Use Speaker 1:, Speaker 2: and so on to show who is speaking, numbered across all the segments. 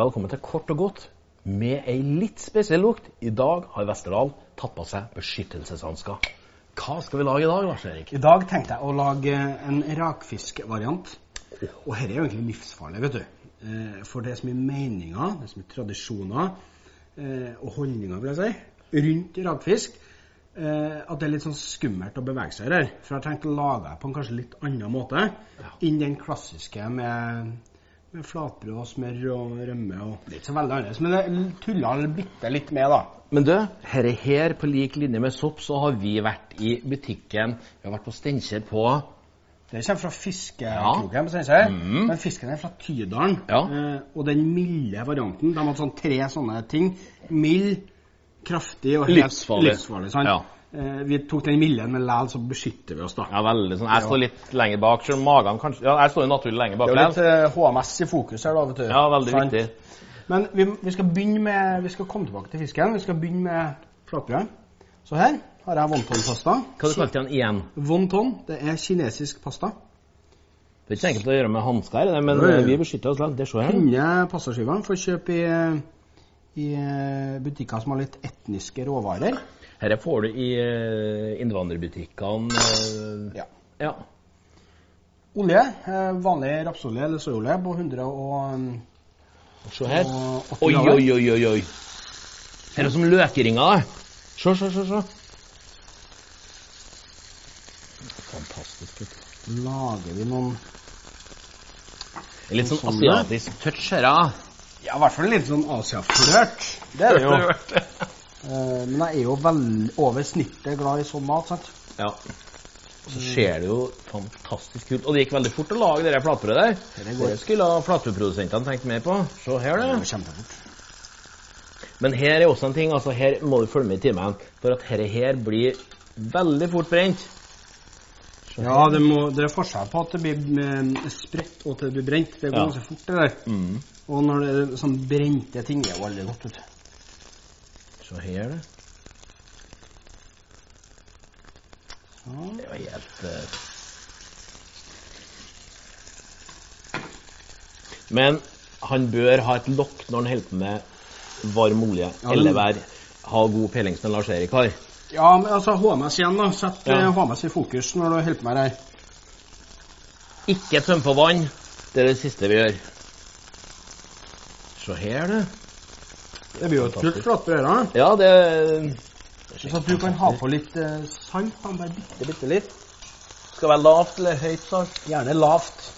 Speaker 1: Velkommen til Kort og godt med ei litt spesiell lukt. I dag har Westerdal tatt på seg beskyttelseshansker. Hva skal vi lage i dag, Lars Erik?
Speaker 2: I dag tenkte jeg å lage en rakfiskvariant. Og dette er jo egentlig livsfarlig, vet du. Eh, For det er så mye meninger, det er så mye tradisjoner eh, og holdninger, vil jeg si, rundt rakfisk. eh, At det er litt sånn skummelt å bevege seg i det her. For jeg tenkte å lage det på en kanskje litt annen måte enn den klassiske med, med flatbrød og smør og rømme og Det er ikke så veldig annerledes, men det tuller bitte litt med, da.
Speaker 1: Men du, herre her på lik linje med sopp, så har vi vært i butikken. Vi har vært på Steinkjer på
Speaker 2: Det kommer fra fiskekroken, på Steinkjer. Men fisken er fra Tydalen.
Speaker 1: Mm. Ja.
Speaker 2: Eh, og den milde varianten. De hadde sånn tre sånne ting. Mild, kraftig og helt
Speaker 1: Livsfarlig.
Speaker 2: livsfarlig sant?
Speaker 1: Ja.
Speaker 2: Eh, vi tok den milde, men likevel så beskytter vi oss, da.
Speaker 1: Ja, veldig sånn Jeg står litt lenger bak, selv om magen kanskje Ja, jeg står jo naturlig lenger bak.
Speaker 2: Det er jo litt
Speaker 1: likevel.
Speaker 2: eh, HMS i fokus her, da. vet du.
Speaker 1: Ja, veldig
Speaker 2: Sant?
Speaker 1: viktig.
Speaker 2: Men vi, vi skal begynne med Vi skal komme tilbake til fisken. Vi skal begynne med flatbrød. Så her har jeg wonton-pasta.
Speaker 1: Hva du kalte du den igjen?
Speaker 2: Wonton, det er kinesisk pasta.
Speaker 1: Det er ikke enkelt å gjøre med hansker, her, men
Speaker 2: Nei.
Speaker 1: eh, vi beskytter oss langt. Det ser jeg.
Speaker 2: Denne pastaskiva får kjøpe i, i eh, butikker som har litt etniske råvarer.
Speaker 1: Dette får du i eh, innvandrerbutikkene. eh,
Speaker 2: Ja.
Speaker 1: ja.
Speaker 2: Olje, eh, vanlig rapsolje eller soyaolje på 100 og eh,
Speaker 1: Se her.
Speaker 2: Og åtti
Speaker 1: Oi,
Speaker 2: grader.
Speaker 1: oi, oi, oi, oi. Her er det som løkeringer. Se, se, se, se. Fantastisk. vet du.
Speaker 2: lager vi noen
Speaker 1: En Litt sånn
Speaker 2: Sånn,
Speaker 1: asiatisk touch her, ja.
Speaker 2: Ja, i hvert fall litt sånn asiaflørt. Det er det jo. Eh, Men jeg er jo vel over snittet glad i sånn mat, sant.
Speaker 1: ja. Og så ser det jo fantastisk ut. Og det gikk veldig fort å lage det der flatbrødet der.
Speaker 2: Det går.
Speaker 1: Det skulle ha flatbrødprodusentene tenkt mer på. Se her,
Speaker 2: Det
Speaker 1: du.
Speaker 2: går kjempefort.
Speaker 1: Men her er også en ting, altså her må du følge med i timen, for at dette her blir veldig fort brent. Se
Speaker 2: Ja, det, må, det er forskjell på at det blir eh, spredt og til det blir brent. Det går
Speaker 1: Ja.
Speaker 2: ganske fort, det der.
Speaker 1: Mm.
Speaker 2: Og når det er sånn brente ting, det er jo aldri godt, vet du.
Speaker 1: Se her, du.
Speaker 2: Sånn.
Speaker 1: Det var helt eh. Men han bør ha et lokk når han holder på med varm olje,
Speaker 2: men-
Speaker 1: eller være, ha god peiling som Lars Erik har.
Speaker 2: Ja, men altså HMS igjen, da. Sett
Speaker 1: Ja.
Speaker 2: eh, HMS i fokus når du holder på med det her.
Speaker 1: Ikke tøm på vann. Det er det siste vi gjør. Se her, du.
Speaker 2: Det blir jo et fullt
Speaker 1: Fantastisk.
Speaker 2: flatt på øra.
Speaker 1: Ja, det
Speaker 2: Så at du kan ha på litt eh, salt. da, Bare bitte, bitte litt.
Speaker 1: skal være lavt eller høyt salt.
Speaker 2: Gjerne lavt.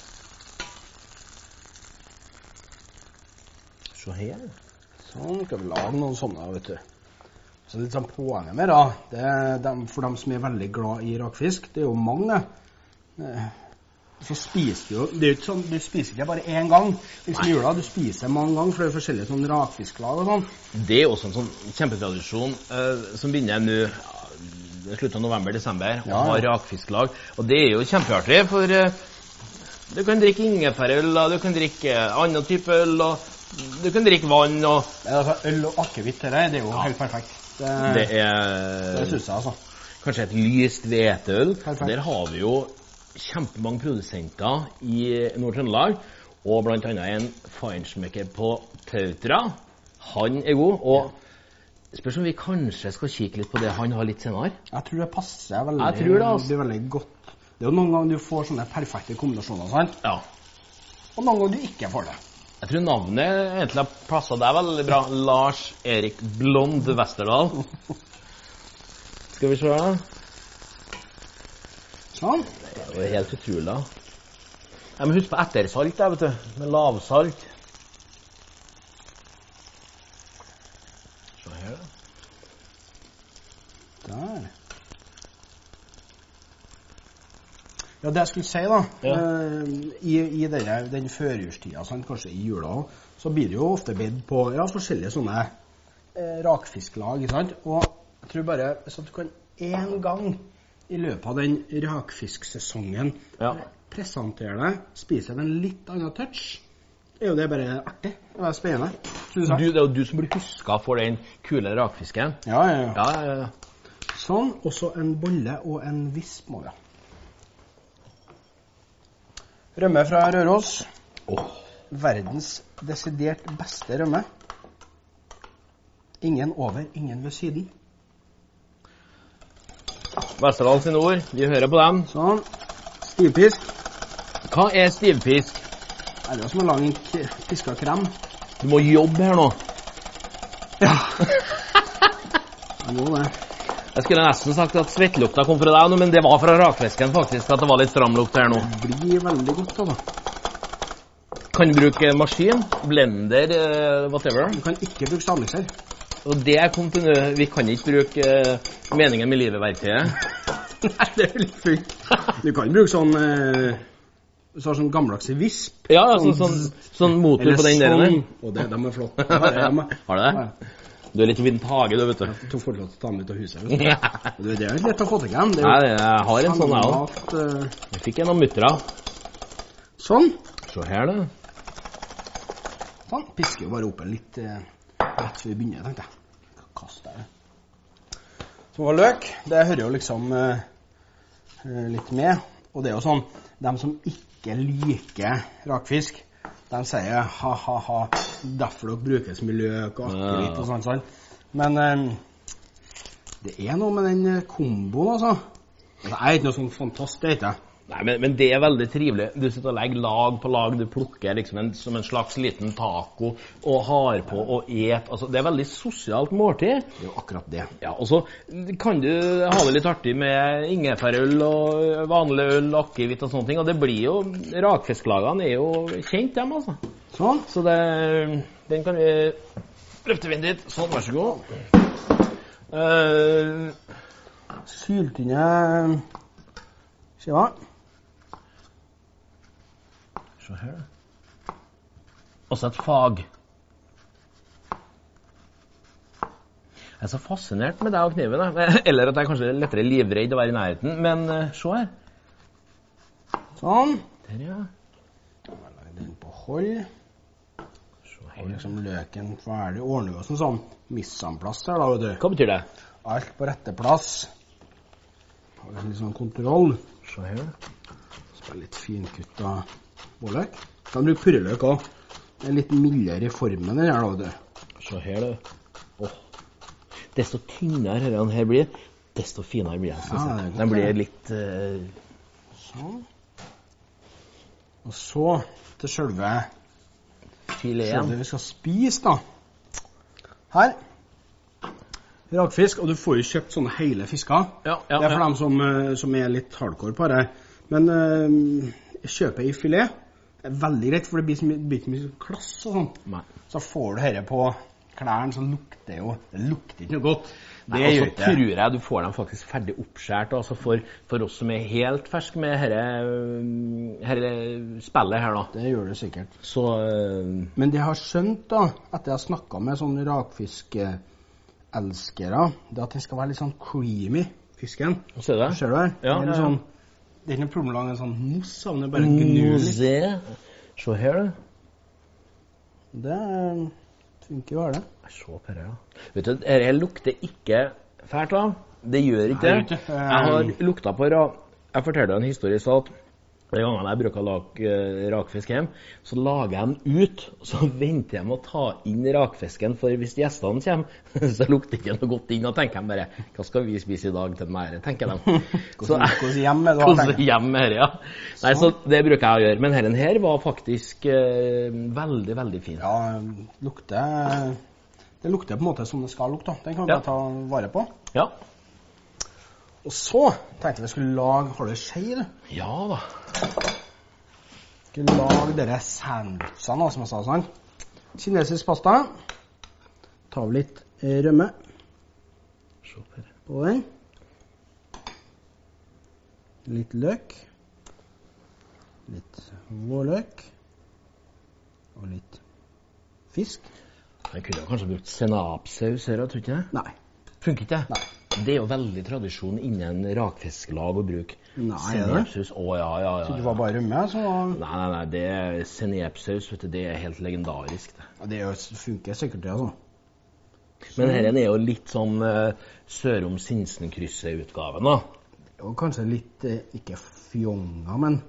Speaker 1: Se her. du.
Speaker 2: Sånn skal vi lage noen sånne, vet du. Så litt sånn poenget med da, det er dem, for dem som er veldig glad i rakfisk, det er jo mange, det. Eh, Så spiser du jo Det er jo ikke sånn, du spiser ikke bare én gang. Liksom i jula, du spiser mange ganger, for det er jo forskjellige sånn rakfisklag og sånn.
Speaker 1: Det er også en sånn kjempetradisjon eh, som begynner nå eh, i slutten av november-desember. Og
Speaker 2: Ja, ja.
Speaker 1: har rakfisklag. Og det er jo kjempeartig, for eh, du kan drikke ingefærøl, og du kan drikke annen type øl, og du kan drikke vann, og
Speaker 2: Men altså, øl og akevitt til det, det er jo helt perfekt. Det,
Speaker 1: det
Speaker 2: det,
Speaker 1: er
Speaker 2: syns jeg, altså.
Speaker 1: kanskje et lyst hveteøl.
Speaker 2: Perfekt.
Speaker 1: Der har vi jo kjempemange produsenter i Nord-Trøndelag. Og blant annet en feinschmecker på Tautra. Han er god. og Spørs om vi kanskje skal kikke litt på det han har litt senere.
Speaker 2: Jeg tror det passer veldig,
Speaker 1: Jeg tror det, altså.
Speaker 2: blir veldig godt. Det er jo noen ganger du får sånne perfekte kombinasjoner, sant?
Speaker 1: Ja.
Speaker 2: og noen ganger du ikke får det.
Speaker 1: Jeg tror navnet egentlig har passa deg veldig bra. Lars Erik Blond Westerdal. Skal vi se.
Speaker 2: Sånn.
Speaker 1: Det er jo helt utrolig. da. Jeg må huske på ettersalt, jeg, vet du. Med lavsalt. Se her, da.
Speaker 2: Der. Ja, det jeg skulle si, da
Speaker 1: Ja.
Speaker 2: eh, I, i denne, den førjulstida, sant, kanskje i jula òg, så blir det jo ofte bedt på ja, forskjellige sånne eh, rakfisklag. ikke sant? Og jeg tror bare så at du kan én gang i løpet av den rakfisksesongen.
Speaker 1: Ja.
Speaker 2: Presentere det, spise det med en litt annen touch. Er jo det bare artig? Det er bare spennende. synes
Speaker 1: Du,
Speaker 2: jeg.
Speaker 1: det er jo du som blir huska for den kule rakfisken.
Speaker 2: Ja, ja, ja.
Speaker 1: Ja, ja, ja.
Speaker 2: Sånn. Og så en bolle og en visp må vi ha. Rømme fra Røros.
Speaker 1: Åh,
Speaker 2: Verdens desidert beste rømme. Ingen over, ingen ved siden.
Speaker 1: Westerdal sine ord, vi hører på dem.
Speaker 2: Sånn. Stivpisk.
Speaker 1: Hva er stivpisk?
Speaker 2: Er det jo som å lage en k- piska krem?
Speaker 1: Du må jobbe her nå.
Speaker 2: Ja. Det må det.
Speaker 1: Jeg skulle nesten sagt at svettelukta kom fra deg nå, men det var fra rakfisken faktisk at det var litt stram lukt her nå.
Speaker 2: Det blir veldig godt, altså.
Speaker 1: Kan du bruke maskin, blender, eh, whatever.
Speaker 2: Du kan ikke bruke stavmikser.
Speaker 1: Og det kom til nå, vi kan ikke bruke eh, meningen med livet-verktøyet.
Speaker 2: Nei, det er litt fint. Du kan bruke sånn eh, så har sånn gammeldagse visp.
Speaker 1: Ja, altså sånn, sånn motor på den der. eller?
Speaker 2: Og det, de er flotte. Ja, det er de.
Speaker 1: Har du det? Du er litt vintage, du, vet du.
Speaker 2: Jeg tok fortsatt å ta dem ut av huset. vet du.
Speaker 1: Nei,
Speaker 2: Og Det det er jo ikke lett å få til igjen. Det er jo
Speaker 1: jeg har en sånn, jeg òg.
Speaker 2: sammenlagt, eh,
Speaker 1: Jeg fikk en av muttra.
Speaker 2: Sånn.
Speaker 1: Se her, du.
Speaker 2: Sånn. Pisker jo bare opp en litt eh, rett før vi begynner, tenkte jeg. Kast der. Så var løk. Det hører jo liksom eh, eh, litt med. Og det er jo sånn De som ikke liker rakfisk, de sier ha-ha-ha, derfor dere bruker så mye løk og akevitt og sånn. sånn. Men eh, det er noe med den eh, komboen, altså. Altså, Jeg er ikke noe sånn fantast, det er ikke jeg.
Speaker 1: Nei, men, men det er veldig trivelig. Du sitter og legger lag på lag. Du plukker liksom en, som en slags liten taco og har på og et. Altså, det er veldig sosialt måltid.
Speaker 2: Det er jo akkurat det.
Speaker 1: Ja, og så kan du ha det litt artig med ingefærøl og vanlig øl, akevitt og sånne ting. Og det blir jo Rakfisklagene er jo kjent, dem, altså.
Speaker 2: Sånn.
Speaker 1: Så det, den kan vi løfte vind dit. Sånn, vær så god. Eh,
Speaker 2: Syltynne eh, skiver.
Speaker 1: Se her, da. Også et fag. Jeg er så fascinert med deg og kniven. jeg. Eller at jeg kanskje er lettere livredd å være i nærheten. Men eh, se her.
Speaker 2: Sånn.
Speaker 1: Der, ja.
Speaker 2: Legger den på hold.
Speaker 1: Se
Speaker 2: Og
Speaker 1: her.
Speaker 2: liksom løken ferdig. Ordner vi oss en sånn missanplass her, da, vet du.
Speaker 1: Hva betyr det?
Speaker 2: Alt på rette plass. Har liksom litt sånn kontroll.
Speaker 1: Se her.
Speaker 2: Så bare litt finkutta vårløk. Kan bruke purreløk òg. Det er litt mildere i formen den her, da, vet du.
Speaker 1: Se her, du. Åh. Desto tynnere denne her blir, desto finere blir den.
Speaker 2: Ja,
Speaker 1: synes
Speaker 2: det er
Speaker 1: jeg.
Speaker 2: godt,
Speaker 1: Den blir litt eh,
Speaker 2: Sånn. Og så til sjølve
Speaker 1: fileten.
Speaker 2: Selve vi skal spise, da. Her. Rakfisk. Og du får jo kjøpt sånne hele fisker.
Speaker 1: Ja, ja,
Speaker 2: det er for
Speaker 1: ja.
Speaker 2: dem som, eh, som er litt hardcore på det. Men eh, kjøpe i filet er veldig greit, for det blir så mye- det blir ikke mye klass og sånn.
Speaker 1: Nei.
Speaker 2: Så får du dette på klærne, så lukter jo Det lukter ikke noe godt. Det
Speaker 1: Nei,
Speaker 2: gjør
Speaker 1: og så
Speaker 2: ikke det.
Speaker 1: tror jeg du får dem faktisk ferdig oppskåret. Altså for, for oss som er helt ferske med herre, øh, herre spillet her nå.
Speaker 2: Det gjør det sikkert.
Speaker 1: Så øh,
Speaker 2: Men det jeg har skjønt, da, etter jeg har snakka med sånne rakfiskelskere, det er at den skal være litt sånn creamy, fisken.
Speaker 1: Hva sier du?
Speaker 2: Ser du her?
Speaker 1: Ja,
Speaker 2: det, er litt
Speaker 1: ja, ja.
Speaker 2: sånn, det er ikke noe problem å lage en sånn mos av den, det er bare gnu litt.
Speaker 1: Mosé. Se her, du.
Speaker 2: Det eh, funker jo, her, det.
Speaker 1: Nei, Se på dette, ja. Vet du, dette lukter ikke fælt av. Det gjør ikke
Speaker 2: Nei,
Speaker 1: det.
Speaker 2: det gjør ikke.
Speaker 1: Jeg har lukta på ra... Jeg fortalte en historie i stad. De gangene jeg bruker lak, eh, rakfisk hjem, så lager jeg den ut. Så venter jeg med å ta inn rakfisken, for hvis gjestene kommer, så lukter ikke noe godt inn. Og tenker jeg bare Hva skal vi spise i dag til den ære, tenker de. Så
Speaker 2: Hvordan-
Speaker 1: jeg-
Speaker 2: hvordan hjem er det du har
Speaker 1: hvordan
Speaker 2: tenkt?
Speaker 1: hjem her, ja. Nei, så det bruker jeg å gjøre. Men denne her var faktisk eh, veldig, veldig fin.
Speaker 2: Ja, lukter Det lukter på en måte som det skal lukte. da. Den kan vi
Speaker 1: Ja.
Speaker 2: bare ta vare på.
Speaker 1: Ja.
Speaker 2: Og så tenkte jeg vi skulle lage Har du skje, du?
Speaker 1: Ja da.
Speaker 2: Skulle lage dere sandwichene, da, som jeg sa. sånn. Kinesisk pasta. Tar vi litt eh, rømme
Speaker 1: Se på dette.
Speaker 2: på den. Litt løk. Litt vårløk. Og litt fisk.
Speaker 1: Jeg kunne jo kanskje brukt senapsaus her, tror du ikke det?
Speaker 2: Nei.
Speaker 1: Funker ikke det?
Speaker 2: Nei.
Speaker 1: Det er jo veldig tradisjon innen rakfisklag å bruke
Speaker 2: Nei, er det?
Speaker 1: sennepssaus. Å, ja, ja, ja.
Speaker 2: Så det
Speaker 1: ja.
Speaker 2: var bare rømme? Så
Speaker 1: Nei, nei, nei, det er sennepsaus, vet du. Det er helt legendarisk, det.
Speaker 2: Ja, det er jo- funker sikkert, det, altså.
Speaker 1: Men dette er jo litt sånn uh, Sørom-Sinsen-krysset-utgaven, da.
Speaker 2: Og kanskje litt eh, ikke fjonga, men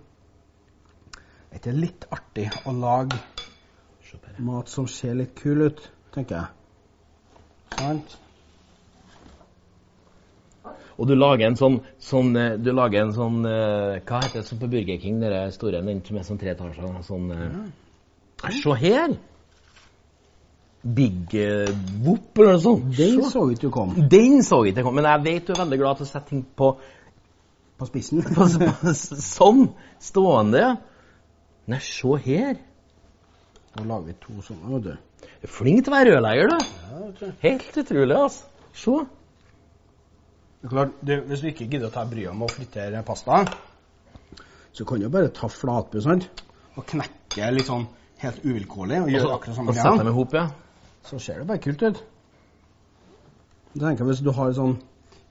Speaker 2: er det litt artig å lage
Speaker 1: Se på her.
Speaker 2: mat som ser litt kul ut, tenker jeg. Sant?
Speaker 1: Og du lager en sånn, sånn eh, Du lager en sånn eh, Hva heter det som på Burger King, den store den som er sånn tre etasjer? da, Sånn eh, Se her! Big eh, Whoop eller noe sånt.
Speaker 2: Den
Speaker 1: Se.
Speaker 2: så ut du kom.
Speaker 1: den så jeg ikke komme, men jeg vet du er veldig glad til å sette ting på,
Speaker 2: På spissen.
Speaker 1: på, på sånn stående. Nei, se her.
Speaker 2: Nå lager vi to sånne, vet du.
Speaker 1: Du er Flink til å være rørlegger, du.
Speaker 2: Ja, vet du.
Speaker 1: Helt utrolig, altså. Se.
Speaker 2: Det er klart, det, Hvis du ikke gidder å ta bryet med å fritere pasta, så kan du jo bare ta flatbu, sant? Og knekke litt sånn helt uvilkårlig og gjøre akkurat samme
Speaker 1: Og sette
Speaker 2: greia.
Speaker 1: dem i hop, ja.
Speaker 2: Så ser det bare kult ut. Jeg tenker Hvis du har et sånn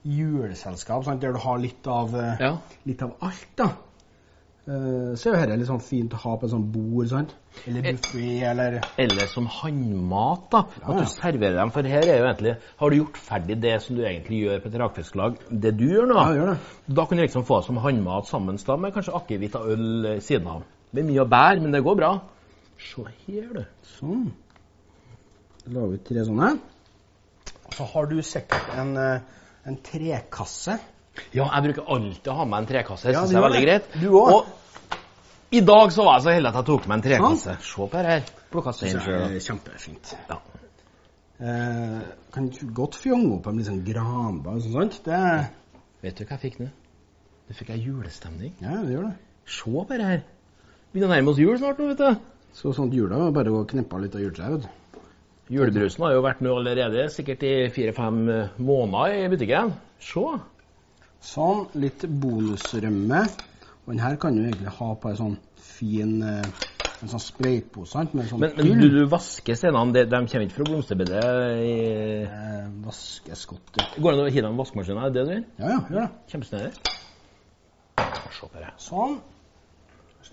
Speaker 2: juleselskap sant, der du har litt av, eh,
Speaker 1: ja.
Speaker 2: litt av alt, da, eh, så er jo dette litt sånn fint å ha på et sånt bord, sant? Eller buffé, eller
Speaker 1: Eller som handmat, da.
Speaker 2: Ja,
Speaker 1: At
Speaker 2: ja.
Speaker 1: du serverer dem. For her er jo egentlig Har du gjort ferdig det som du egentlig gjør på et rakfisklag, det du gjør nå?
Speaker 2: Ja, gjør det.
Speaker 1: Da kan du liksom få det som handmat sammen da, med kanskje akevitt og øl eh, siden av. Det er mye å bære, men det går bra. Se her, du.
Speaker 2: Sånn. Da lager vi tre sånne. Så har du sikkert en, eh, en trekasse.
Speaker 1: Ja, jeg bruker alltid å ha med en trekasse. Det
Speaker 2: Ja,
Speaker 1: syns
Speaker 2: du
Speaker 1: jeg er
Speaker 2: gjør
Speaker 1: veldig
Speaker 2: det.
Speaker 1: greit.
Speaker 2: Du også.
Speaker 1: Og i dag så var jeg så heldig at jeg tok med en trekasse. Se på det her. Plukka
Speaker 2: Så
Speaker 1: stein
Speaker 2: er
Speaker 1: sjøl.
Speaker 2: det kjempefint.
Speaker 1: Ja.
Speaker 2: Eh, kan du godt fjonge opp en litt sånn granbar og sånt. Det,
Speaker 1: Vet du hva jeg fikk nå? Nå fikk jeg julestemning.
Speaker 2: ja, det gjør det.
Speaker 1: Se på det her. Begynner å nærme oss jul snart nå, vet du.
Speaker 2: Så sånt jula er bare å kneppe litt av juletreet. vet du.
Speaker 1: Julebrusen har jo vært nå allerede sikkert i fire-fem eh, måneder i butikken. Se.
Speaker 2: Sånn. Litt bonusrømme. Og den her kan du egentlig ha på en sånn fin eh, en sånn spraypose sant, med en sånn
Speaker 1: Men, men du, du vasker steinene. De, de kommer ikke fra blomsterbedet. i-
Speaker 2: eh, vaskeskott. Ja,
Speaker 1: Går det an å hive dem i vaskemaskinen? Er det det du vil?
Speaker 2: ja, gjør det.
Speaker 1: Kjempesnedig. Se på det.
Speaker 2: Sånn.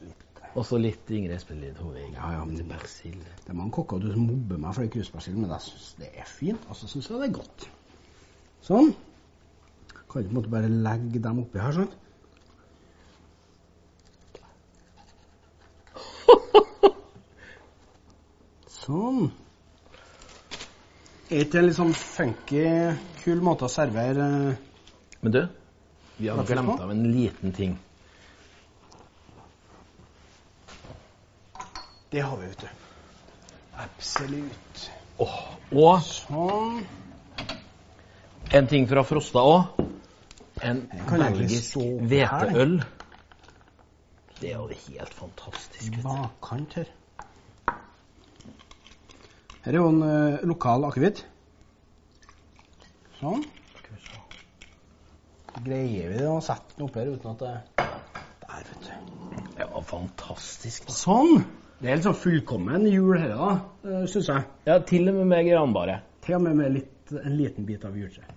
Speaker 2: Litt
Speaker 1: Og så litt Ingrid Espelid Hovig.
Speaker 2: Ja, ja, men-
Speaker 1: Litt persil.
Speaker 2: Det er mange kokker du som mobber meg for det kruspersillen, men jeg syns det er fint. Og så syns jeg det er godt. Sånn. Kan du på en måte bare legge dem oppi her, sånn. Sånn. Er ikke det en litt sånn funky, kul måte å servere eh,
Speaker 1: Men du, vi har
Speaker 2: Hva skal
Speaker 1: glemt
Speaker 2: på?
Speaker 1: av en liten ting.
Speaker 2: Det har vi, vet du. Absolutt.
Speaker 1: Åh, og
Speaker 2: Sånn.
Speaker 1: en ting fra Frosta òg. En
Speaker 2: kan egentlig
Speaker 1: belgisk
Speaker 2: stå her, den.
Speaker 1: hveteøl. Det Mm. er jo helt fantastisk.
Speaker 2: Bakkant her. Her er jo en eh, lokal akevitt. Sånn.
Speaker 1: Skal vi se.
Speaker 2: Greier vi det å sette den opp her uten at det Der, vet du.
Speaker 1: Ja, fantastisk. da.
Speaker 2: Sånn. Det er liksom fullkommen jul her, da, eh, synes jeg.
Speaker 1: Ja, til og med med granbare.
Speaker 2: Til og med med litt, en liten bit av juletreet.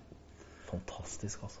Speaker 1: Fantastisk, altså.